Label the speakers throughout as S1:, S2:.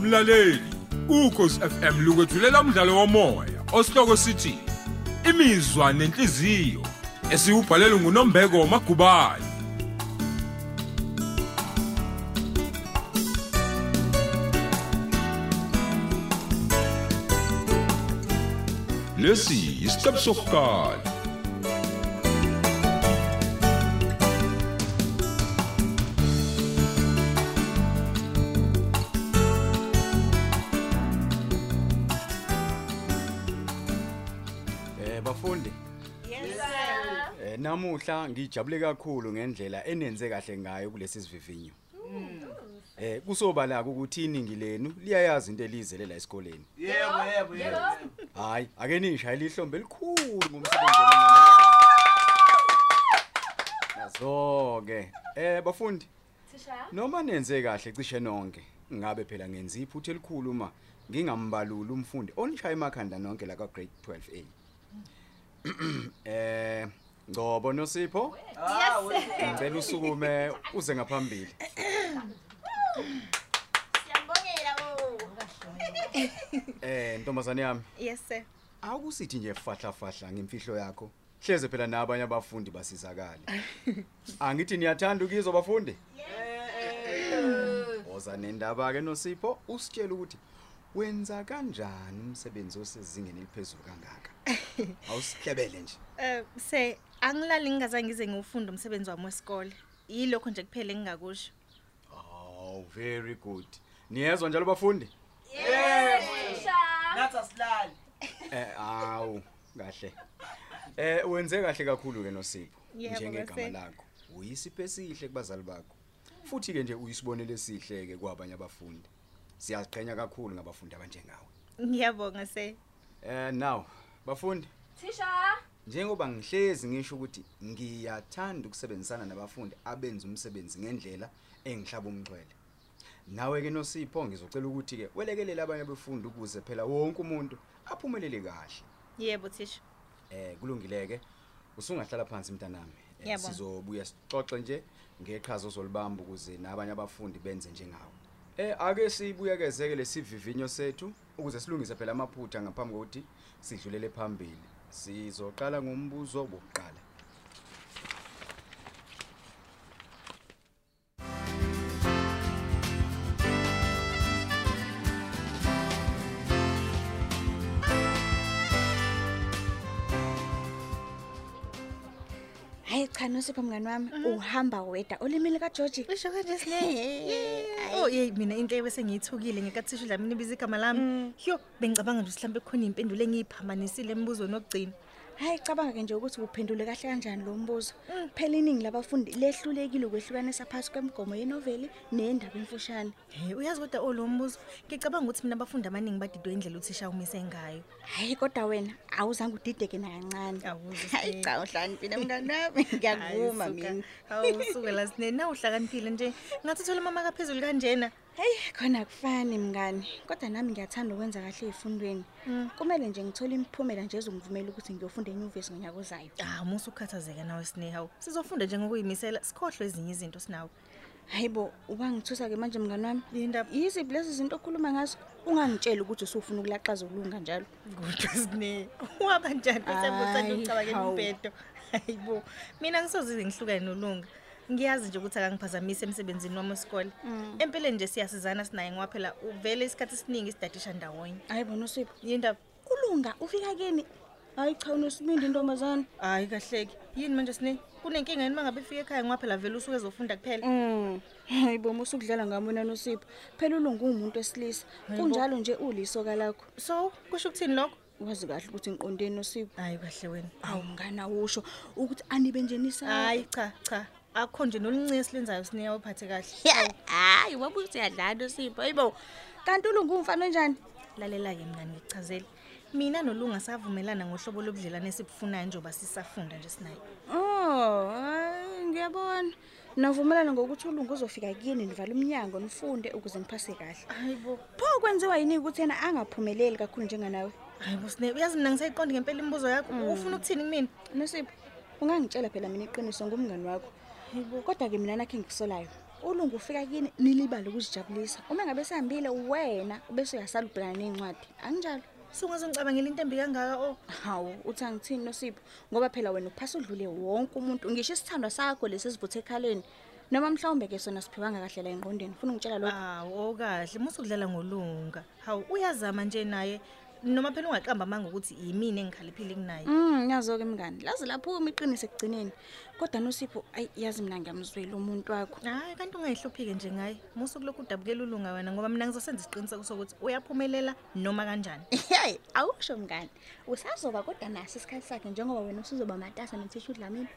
S1: mlaleli ukhosi FM lukwethulela umdlalo womoya osihloko sithi imizwa nenhliziyo esiyubhalelwe nguNombeko Magubane Lesi isiqephu sokuqala
S2: Eh bafundi eh namuhla ngijabule kakhulu ngendlela enenze kahle ngayo kulesi sivivinyo. Eh kusobala ukuthi iningi lenu liyayazi into elize lela esikoleni.
S3: yebo yebo yebo
S2: Hayi ake nishaye lihlombe likhulu ngomsebenzi wenu. Nazoke eh bafundi
S4: Thisha,
S2: noma nenze kahle cishe nonke ngabe phela ngenza iphutha elikhulu uma ngingambaluli umfundi onishaya emakhanda nonke la ka grade 12A. Eh Ngobo noSipho
S3: Ah, we-
S2: ngicela usukume uze ngaphambili
S4: siyambongela bo.
S2: eh ntombazane yami
S5: Yes sir.
S2: akusithi nje fahla fahla ngemfihlo yakho hleze phela nabanye abafundi basizakale angithi niyathanda ukizwa bafundi oza nendaba ke noSipho usitshela ukuthi wenza kanjani umsebenzi osezingeni eliphezulu kangaka awusihlebele nje
S5: Eh say angilali ngingaza ngize ngifunda umsebenzi wami wesikole. Yilokho nje kuphela engingakusho.
S2: oh very good niyezwa njalo bafundi
S4: Thisha,
S3: nathi asilali
S2: eh awu kahle eh wenze kahle kakhulu ke noSipho
S5: Yebo,
S2: njengegama
S5: bese-
S2: lakho uyisipho esihle kubazali bakho futhi ke nje uyisibonele esihle ke kwabanye abafundi siyaziqhenya kakhulu ngabafundi abanjengawe
S5: Ngiyabonga sir.
S2: eh now bafundi
S4: Thisha,
S2: njengoba ngihlezi ngisho ukuthi ngiyathanda ukusebenzisana nabafundi abenza umsebenzi ngendlela engihlaba umxwele nawe ke noSipho ngizocela ukuthi ke welekelele abanye abafundi ukuze phela wonke umuntu aphumelele kahle
S5: Yebo thisha.
S2: Eh kulungileke. Usungahlala phansi mntanami. Eh,
S5: Yebo.
S2: Sizobuya sixoxe nje ngeqhaza ozolibamba ukuze nabanye abafundi benze njengawe. Eh ake sibuyekezeke lesivivinyo sethu ukuze silungise phela amaphutha ngaphambi kokuthi sidlulele phambili. Sizoqala ngombuzo wokuqala.
S6: hayi cha nosipho mngani wami
S5: Mm.
S6: uhamba wedwa olimile kageorge
S5: Usho kanje sine. Oh yey mina into ebese ngiyithukile ngekathisha lami nibiza igama lami. Yo bengicabanga nje mhlawumbe khona impendulo engiyiphambanisile embuzweni okugcina.
S6: hayi cabanga-ke nje ukuthi uphendule kahle kanjani lo mbuzo
S5: Mm.
S6: phela iningi labafundi lehlulekile ukwehlukanisa phasi kwemigomo yenoveli neyendaba emfushane
S5: Hey uyazi kodwa olombuzo ngicabanga ukuthi mina abafundi abaningi badidwe indlela uthisha umise ngayo.
S6: hhayi kodwa wena awuzange udideke nakancane
S5: Awuze,
S6: hayi
S5: Sine.
S6: cha uhlaniphile mngani wami ngiyakuvuma mina
S5: Hawu sukela sine nawuhlakaniphile nje. Ngathi thola mama kaphezulu kanjena.
S6: heyi khona akufani mngani kodwa nami ngiyathanda ukwenza kahle ey'fundweni
S5: Mm.
S6: kumele nje ngithole imiphumela nje ezongivumela ukuthi ngiyofunda enyuvesi ngonyaka ozayo
S5: Ah, musu ukhathazeka nawe Snehawu. Sizofunda njengokuyimisela sikhohlwe ezinye izinto sinawo.
S6: hayi bo ubangithusa-ke manje mngani wami
S5: Yindaba
S6: yiziphi lezi zinto okhuluma ngazo ungangitsheli ukuthi usufuna ukulaxaza ulunga njalo
S5: ngodu Sne. Waba njani esembuthanda
S6: Ayi,
S5: ucabanga
S6: hawu.
S5: impedo. Hayibo. Mina ngisozize ngihlukane nolunga. Ngiyazi nje ukuthi akangiphazamise emsebenzini wami wesikole. Empeleni nje siyasizana sinaye ngoba phela uvele isikhathi esiningi isidadisha ndawonye.
S6: hayi bona usipho
S5: Yindaba
S6: ulunga ufika kini hayi cha unosibindi intombazane
S5: Hayi kahleke. Yini manje Sne? Kunenkinga yini mangabe ifike ekhaya ngoba phela vele usuke ezofunda kuphela.
S6: um hayi boma usukudlala ngamona nosipho phela ulunga uwumuntu wesilisa kunjalo nje ulisoka lakho
S5: So, kusho ukuthini lokho?
S6: wazi kahle ukuthi ngiqondeni nosipho
S5: Hayi kahle wena.
S6: awu mngani awusho ukuthi anibe nje nisahayi
S5: hayi cha cha akho nje nolincisi lenzayo sineya uphathe kahle
S6: hayi wabe ukuthi uyadlala nosipho ayibo kanti ulunga uwumfana onjani
S5: lalela-ke mngani ngikuchazele mina nolunga savumelana ngohlobo lobudlelwane esibufunayo njengoba sisafunda nje sinayo
S6: Oh, hhayi, ngiyabona. Navumelana ngokuthi ulungu uzofika kini nivala umnyango nifunde ukuze niphase kahle.
S5: hayibo
S6: Pho kwenziwa yini ukuthi yena angaphumeleli kakhulu njenganawe?
S5: hayibo sine uyazi mina ngisayiqonda ngempela imibuzo yakho ufuna ukuthini kumina
S6: Nosipho, ungangitshela phela mina iqiniso ngumngani wakho. Kodwa ke mina nakhe ngikusolayo. ulungu ufika kini nilibale ukuzijabulisa uma ngabe sihambile wena ubese uyasala ubhekana ney'ncwadi anginjalo
S5: sungazongicabangela into embi kangaka Oh. o
S6: hawu uthi angithini nosipho ngoba phela wena ukuphasa udlule wonke umuntu ngisho isithandwa sakho lesi esivuthe ekhaleni noma mhlawumbe ke sona siphiwanga kahle la engqondweni funa ngitshela lokho
S5: hawu oh, okahle musukudlala ngolunga hawu uyazama nje naye noma phela ungaqamba amanga ukuthi yimini engikhaliphile kunaye
S6: um yazo-ke mngani laze lapho-ke iqinise ekugcineni kodwa nosipho ayi yazi mina ngiyamzwela umuntu wakho
S5: hayi kanti ungayihluphi-ke nje ngaye musukulokhu udabukela ulunga wena ngoba mina ngizosenza isiqiniseko sokuthi uyaphumelela noma kanjani
S6: heyi awusho mngani usazoba kodwa naso isikhathi sakhe njengoba wena usuzoba matasa nothisha udlamile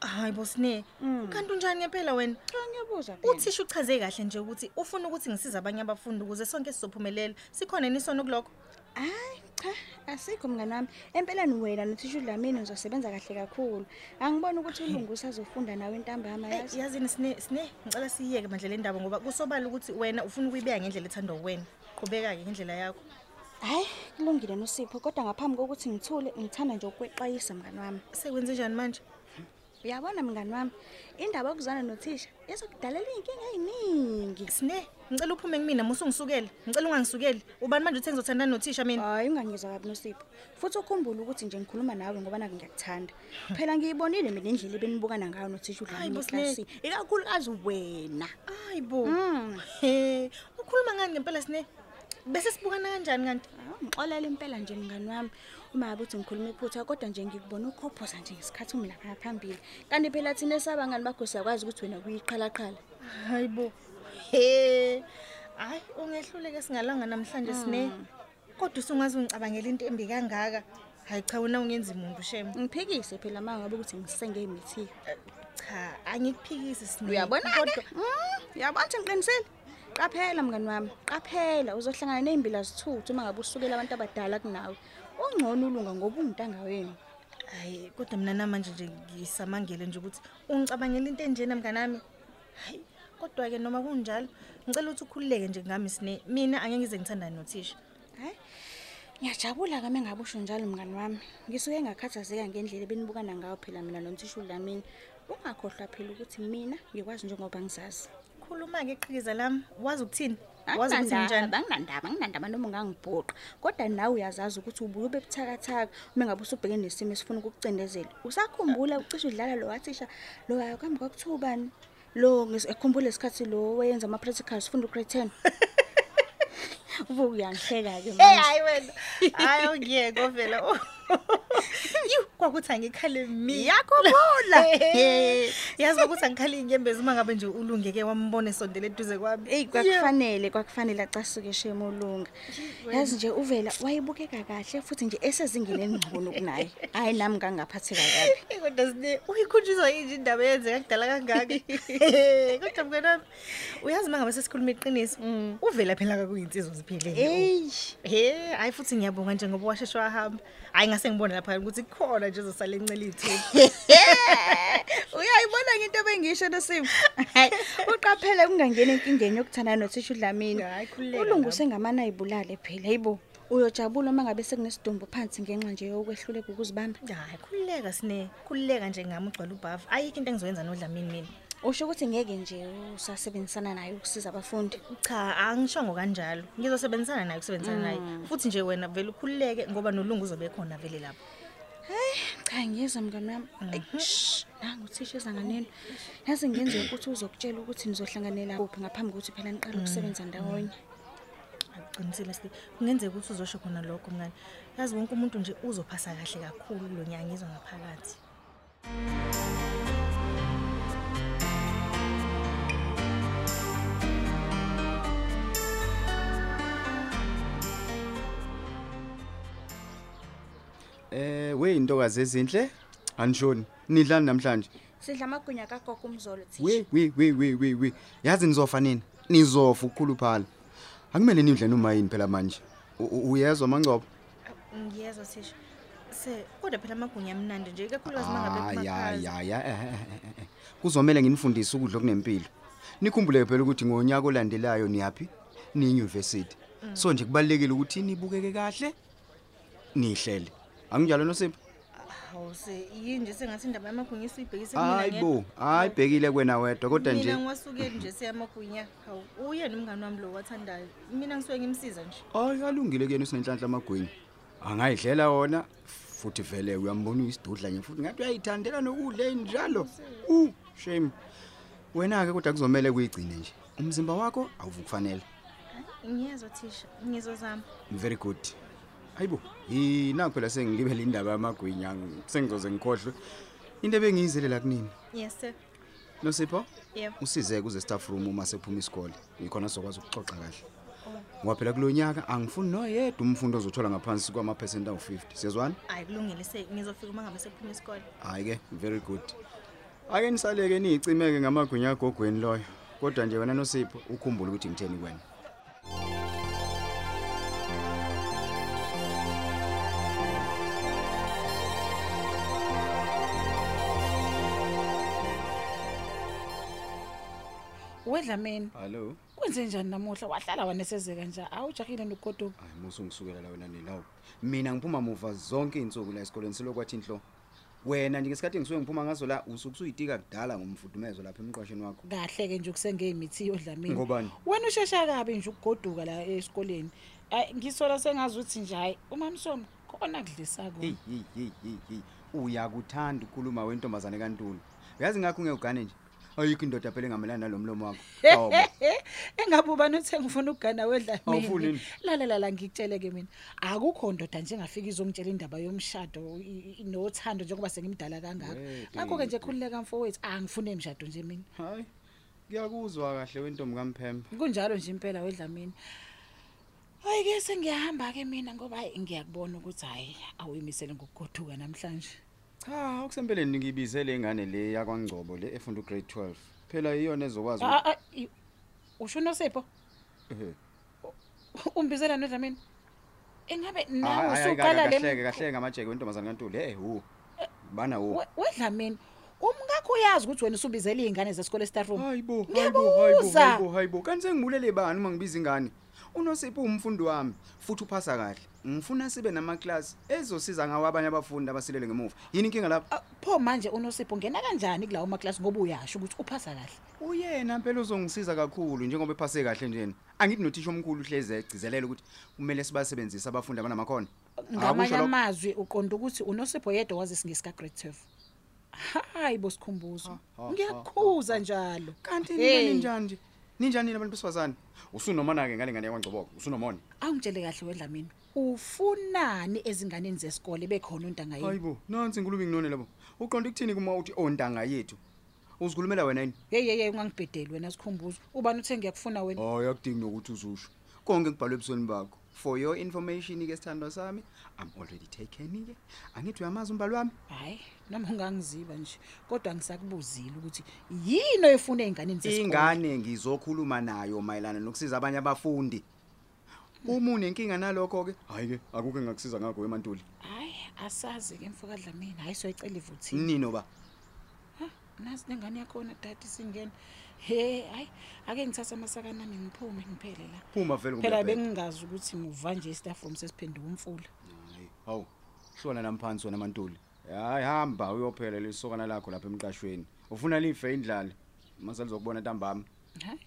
S5: Ah, hayi bosine
S6: Mm.
S5: kanti unjani-ke phela wena
S6: cha ngiyabuza
S5: uthisha uchaze kahle nje ukuthi ufuna ukuthi ngisize abanye abafundi ukuze sonke sizophumelela sikhona nisona kulokho
S6: hayi cha asikho mngani wami empeleni wena nothisha udlamini nizosebenza kahle kakhulu angiboni ukuthi ulungu usazofunda nawe intambama
S5: Eyi,
S6: yazi
S5: yazini sine sine ngicela siyiyeke mandlela endaba ngoba kusobala ukuthi wena ufuna ukuyibeka ngendlela ethandwa wena qhubeka-ke ngendlela yakho
S6: hhayi kulungile nosipho kodwa ngaphambi kokuthi ngithule ngithanda nje ukweqayisa mngani wami
S5: sekwenze njani manje
S6: uyabona mngani wami indaba yokuzwana nothisha izokudalela iy'nkinga ey'ningi
S5: sine ngicela uphume kumina musungisukele ngicela ungangisukeli ubani manje uthe ngizothandana nothisha mina
S6: hayi ungangizwa kabi nosipho futhi ukhumbule ukuthi nje ngikhuluma nawe ngoba nake ngiyakthanda phela ngiyibonile mina indlela ebenibukana ngayo nothisha
S5: Hayi,
S6: udlamini
S5: Bosne.
S6: eklasini ikakhulukazi wena
S5: hayi bo Mm. he ukhuluma ngani ngempela sine bese sibukana kanjani kanti
S6: Awu, ngixolela impela nje mngani wami uma ngabe uthi ngikhuluma iphutha kodwa nje ngikubona ukhophoza nje ngesikhathi umlapha phambili kanti phela thina esabangani bakho siyakwazi ukuthi wena kuyiqhalaqhala
S5: hayi bo he hayi ungehluleke singalanga namhlanje sine kodwa usungaze ungicabangela into embi kangaka hayi cha wona ungenzi muntu shem
S6: ngiphikise phela uma ngabe ukuthi ngisenge imithiyo
S5: cha angikuphikisi sine
S6: uyabona-ke
S5: kodwa-
S6: Mm, uyabona ukuthi ngiqinisile qaphela mngani wami qaphela uzohlangana ney'mbila zithuthu uma ngabe usukela abantu abadala kunawe ungcono ulunga ngoba ungintanga wenu
S5: hayi kodwa mina namanje nje ngisamangele nje ukuthi ungicabangela into enjena mnganami hayi kodwa-ke noma kunjalo ngicela ukuthi ukhululeke nje ngami sine mina angeke ngize ngithandane nothisha
S6: hayi ngiyajabula-ke uma ngabe usho njalo mngani wami ngisuke ngakhathazeka ngendlela ebenibukana ngayo phela mina nomthisha ulamini ungakhohlwa phela ukuthi mina ngikwazi njengoba ngizazi
S5: khuluma-ke iqhikiza lami wazi ukuthini wazi ukuthi
S6: anginandaba
S5: njani
S6: anginandaba anginandaba noma ungangibhoqa kodwa nawe uyazazi ukuthi ubuye bebuthakathaka uma ngabe usubheke nesimo esifuna ukukucindezela usakhumbula ucishe udlala lo wathisha lo akuhambi kwakuthiwa ubani lo ngis- ekhumbula isikhathi lo wayenza ama-practicals ufunda ugrade ten uvuke uyangihleka-ke
S5: eyi
S6: manje.
S5: hhayi wena hhayi awungiyeko vela Yu, kwakuthi angikhale mina
S6: Ngiyakhumbula.
S5: yazi kwakuthi angikhale iy'nyembezi uma ngabe nje ulungeke wambona esondela eduze kwami
S6: eyi
S5: Yebo.
S6: kwakufanele kwakufanele acasuke shema ulunga yazi nje uvela wayebukeka kahle futhi nje esezingeni elingcono kunaye hhayi nami ngangaphatheka kabi
S5: Eh, kodwa sine uyikhunjuzwa yinje indaba eyenzeka kudala kangaka kodwa mnganami uyazi uma ngabe sesikhuluma iqiniso uvela phela kakuyinsizwa ziphelele
S6: eyi
S5: he hayi futhi ngiyabonga nje ngoba washeshe wahamba hhayi ngase ngibone lapha ukuthi kukhona nje ezosala encela ithuba
S6: uyayibona ngento bengisho nosimo hayi uqaphele kungangeni enkingeni yokuthandana nothisha udlamini
S5: Hhayi, khululeka
S6: ulungu
S5: lapho.
S6: sengamane ayibulale phela yibo uyojabula uma ngabe sekunesidumbu phansi ngenxa nje yokwehluleka ukuzibamba
S5: hayi khululeka sine khululeka nje ngami ugcwala ubhafu ayikho into engizoyenza nodlamini mina
S6: usho ukuthi ngeke nje usasebenzisana naye ukusiza abafundi
S5: cha angishongo kanjalo ngizosebenzisana naye ukusebenzisana naye
S2: Mm.
S5: futhi nje wena vele ukhululeke ngoba nolungu uzobe khona vele lapho
S6: cha ngiyeza mngani wami Ayi, shh, nangu uthisha ezanganeni yazi ngenze ukuthi uzokutshela ukuthi nizohlanganela kuphi ngaphambi kokuthi phela niqale ukusebenza ndawonye
S5: aqinisile sike kungenzeka ukuthi uzosho khona lokho mngani yazi wonke umuntu nje uzophasa kahle kakhulu lo nyanga izwa ngaphakathi
S2: Eh weyintokazi ezinhle anjoni nidlani namhlanje
S6: sidla amagwinya kagogo umzolo thisha
S2: we we we we we we yazi nizofa nini nizofa ukukhuluphala akumele nidle noma yini phela manje U- u- uyezwa mangcobo
S5: ngiyezwa thisha se kodwa phela amagunya amnandi nje ikakhulukazi mangabe
S2: ayayaya kuzomele nginifundise ukudla okunempilo nikhumbule phela ukuthi ngonyaka olandelayo niyaphi niyunivesithi so nje kubalulekile ukuthi nibukeke kahle nihlele anginjalo nosipho
S5: hawu se yini nje sengathi indaba yamagwinyisi uyibhekise kumina
S2: hayi
S5: ngedwa.
S2: bo hayi bhekile kwena wedwa kodwa
S5: mina
S2: nje
S5: ngiwasukeli nje seyamagwinya hawu uyena umngani wami lo wathandayo mina ngisuke ngimsiza nje
S2: hayi alungile kuyena usenhlanhla amagwinya angayidlela wona futhi vele uyambona uyisidudla nje futhi ngathi uyayithandela nokudla enjalo u shame wena-ke kodwa kuzomele kuyigcine nje umzimba wakho awuvukufanele
S5: ngiyezwa thisha ngizozama
S2: very good hayibo yinako phela sengilibele indaba yamagwinya ang- sengizoze ngikhohlwe into ebengiyizele la kunini
S5: yes sir
S2: nosipho
S5: yebo
S2: usizeke kuze staff room uma sephuma isikole yikhona sizokwazi ukuxoxa kahle
S5: Oh.
S2: ngoba phela kulo nyaka angifuni noyedwa umfundi ozothola ngaphansi kwamaphesenti awu-50 siyezwana
S5: hayi kulungile se- ngizofika uma ngabe sekuphuma isikole
S2: hhayi-ke very good ake nisaleke niyicimeke ngamagwinya agogweni loyo kodwa nje wena nosipho ukhumbule ukuthi ngitheni kwena
S7: wedlameni
S2: hallo
S7: kwenze njani namuhla wahlala wanesezeka nje awujahile nogodo
S2: hayi musungisukela la wena nilawo mina ngiphuma muva zonke iy'nsuku la esikoleni silokwathi inhlo wena nje ngesikhathi ngisuke ngiphuma ngaso la usuke usuyitika kudala ngomfudumezo lapha emqwasheni wakho
S7: kahle-ke nje kusengeyimithiyo dlamini
S2: Ngobani?
S7: wena ushesha kabi nje ukugoduka la esikoleni Ayi, ngisola sengazi ukuthi nje hhayi umamsomi khona kudlisako
S2: heyi heyi heyi heyi heyi uyakuthanda ukhuluma wentombazane kantulu uyazi ngakho ungewugane nje ayikho indoda phela engamelani nalo mlomo wakho Awu bo.
S7: engabe ubani uthe ngifuna ukugana
S2: Awufuni yini?
S7: wedlamini lalalala ngikutshele-ke mina akukho ndoda njengafika izongitshela indaba yomshado i- i- nothando njengoba sengimdala kangako
S2: Wede,
S7: ngakho-ke nje
S2: wede.
S7: khululeka mfowethu angifuni emshado nje mina
S2: hayi kuyakuzwa kahle wentombi kamphemba
S7: kunjalo nje impela wedlamini hayi ke sengiyahamba ke mina ngoba hayi ngiyakubona ukuthi hayi awuyimisele ngokugoduka namhlanje
S2: cha okusempeleni ngiyibize le ngane le yakwangcobo le efunda ugrade 12 phela iyona ezokwazi
S7: Ah, ah, i- usho unosipho
S2: Ehhe.
S7: umbizela nodlamini engabe nawe
S2: Hhayi, hhayi,
S7: usuqala
S2: kahle- kahleke
S7: le
S2: kahleke ngamajeke wentombazane kantulu hey hu bana hu
S7: We- wedlamini umkakho uyazi ukuthi wena usubizele iy'ngane zesikole estaroom
S2: hayibo
S7: Ngiyabuza.
S2: hayibo kanti sengimulele bani uma ngibiza ingane unosipho umfundi wami futhi uphasa kahle ngifuna sibe namaklasi ezosiza ngawo abanye abafundi abasilele ngemuva yini inkinga lapho
S7: Ah, pho manje unosipho ungena kanjani kulawo maklasi ngoba uyasho ukuthi uphasa kahle
S2: uyena phela uzongisiza kakhulu njengoba ephase kahle njena angithi nothisha omkhulu uhlezi egcizelela ukuthi kumele sibasebenzise abafundi abanamakhono
S7: ngamanye
S2: Akusho lokho.
S7: amazwi uqonda ukuthi unosipho yedwa wazi singesikagrade twelve hayi bosikhumbuzo
S2: ha,
S7: ngiyakukhuza njalo
S2: kanti
S7: Hey.
S2: nina ninjani nje ninjani nina abantu besifazane usunomona-ke ngale ngane yakwangcoboko usunomona
S7: awungitshele kahle wedlamini ufunani ezinganeni zesikole bekhona ontanga yini
S2: hayibo nansi inkulumo inginone labo uqonda ukuthini kuma uthi ontanga yethu uzikhulumela wena yini
S7: yeyi yeyi ungangibhedeli wena sikhumbuzo ubani uthe ngiyakufuna wena
S2: hayi akudingi nokuthi uzusho konke kubhalwe ebusweni bakho for your information ke sithandwa sami i'm already taken-ke angithi uyamazi umbali wami
S7: hhayi noma ungangiziba nje kodwa ngisakubuzile ukuthi yini oyifuna ey'nganeni zesikole
S2: ingane ngizokhuluma nayo mayelana nokusiza abanye abafundi uma unenkinga nalokho-ke hhayi-ke akukho engakusiza ngakho wemantuli
S7: hhayi asazi-ke mfokadlamini hhayi soyicela ivuthini
S2: nino ba
S7: nasi nengane yakhona dade singena he hayi ake ngithathe amasakana ami ngiphume ngiphele la
S2: phuma vele
S7: phela
S2: ngobabheka.
S7: bengingazi ukuthi muva nje i-staff room sesiphenduka umfula
S2: Hhayi, hawu hlona namphansi wena mantuli hayi hamba uyophela lisokana lakho lapha emqashweni ufuna life indlala mase lizokubona ntambama
S7: hayi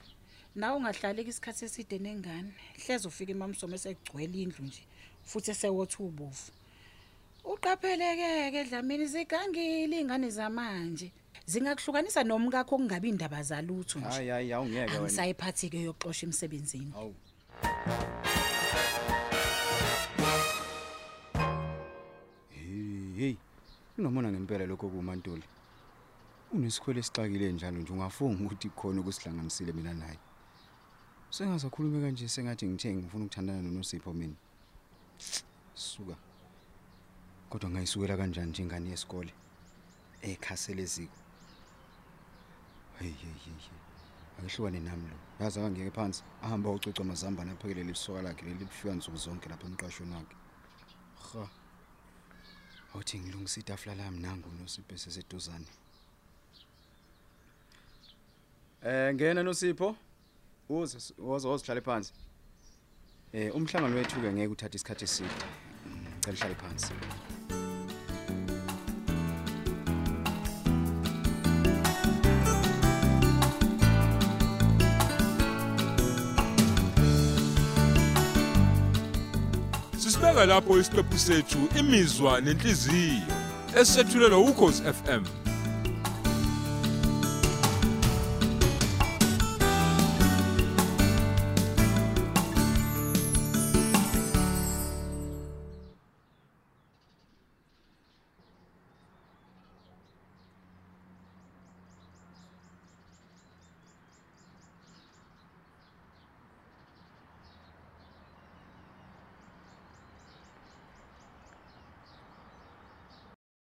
S7: nawe ungahlaleki isikhathi eside nengane hleze ufika imamsomo esegcwele indlu nje futhi esewothi ubovu uqaphele-ke-ke dlamini zigangile iy'ngane zamanje zingakuhlukanisa nomkakho okungabi indaba zalutho nje
S2: hayi hayi awungeke wena
S7: angisayiphathi-ke yokuxosha emsebenzini
S2: hawu Hey, hey kunomona ngempela lokho kuMantuli unesikhwele esixakile njalo nje ungafunga ukuthi khona ukusilanganisile mina naye sengazakhulume kanje sengathi ngithe ngifuna ukuthandana nonosipho mina suka kodwa ngayisukela kanjani nje ingane yesikole ekhaseleziko hey hey hey hey. angihlukane nami lo yazi akangeke phansi ahamba ucoca amazambane aphekelele isoka lakhe leli lifika nsuku zonke lapha emqashweni wakhe ha awuthi ngilungisa itafula lami nangu nosipho eseseduzane um ngena nosipho uze uze uzihlale phansi um umhlangano wethu-ke ngeke uthathe isikhathi eside Mm, cela uhlale phansi
S1: sibeka lapho isiqephu sethu imizwa nenhliziyo esethulelwa ukhozi FM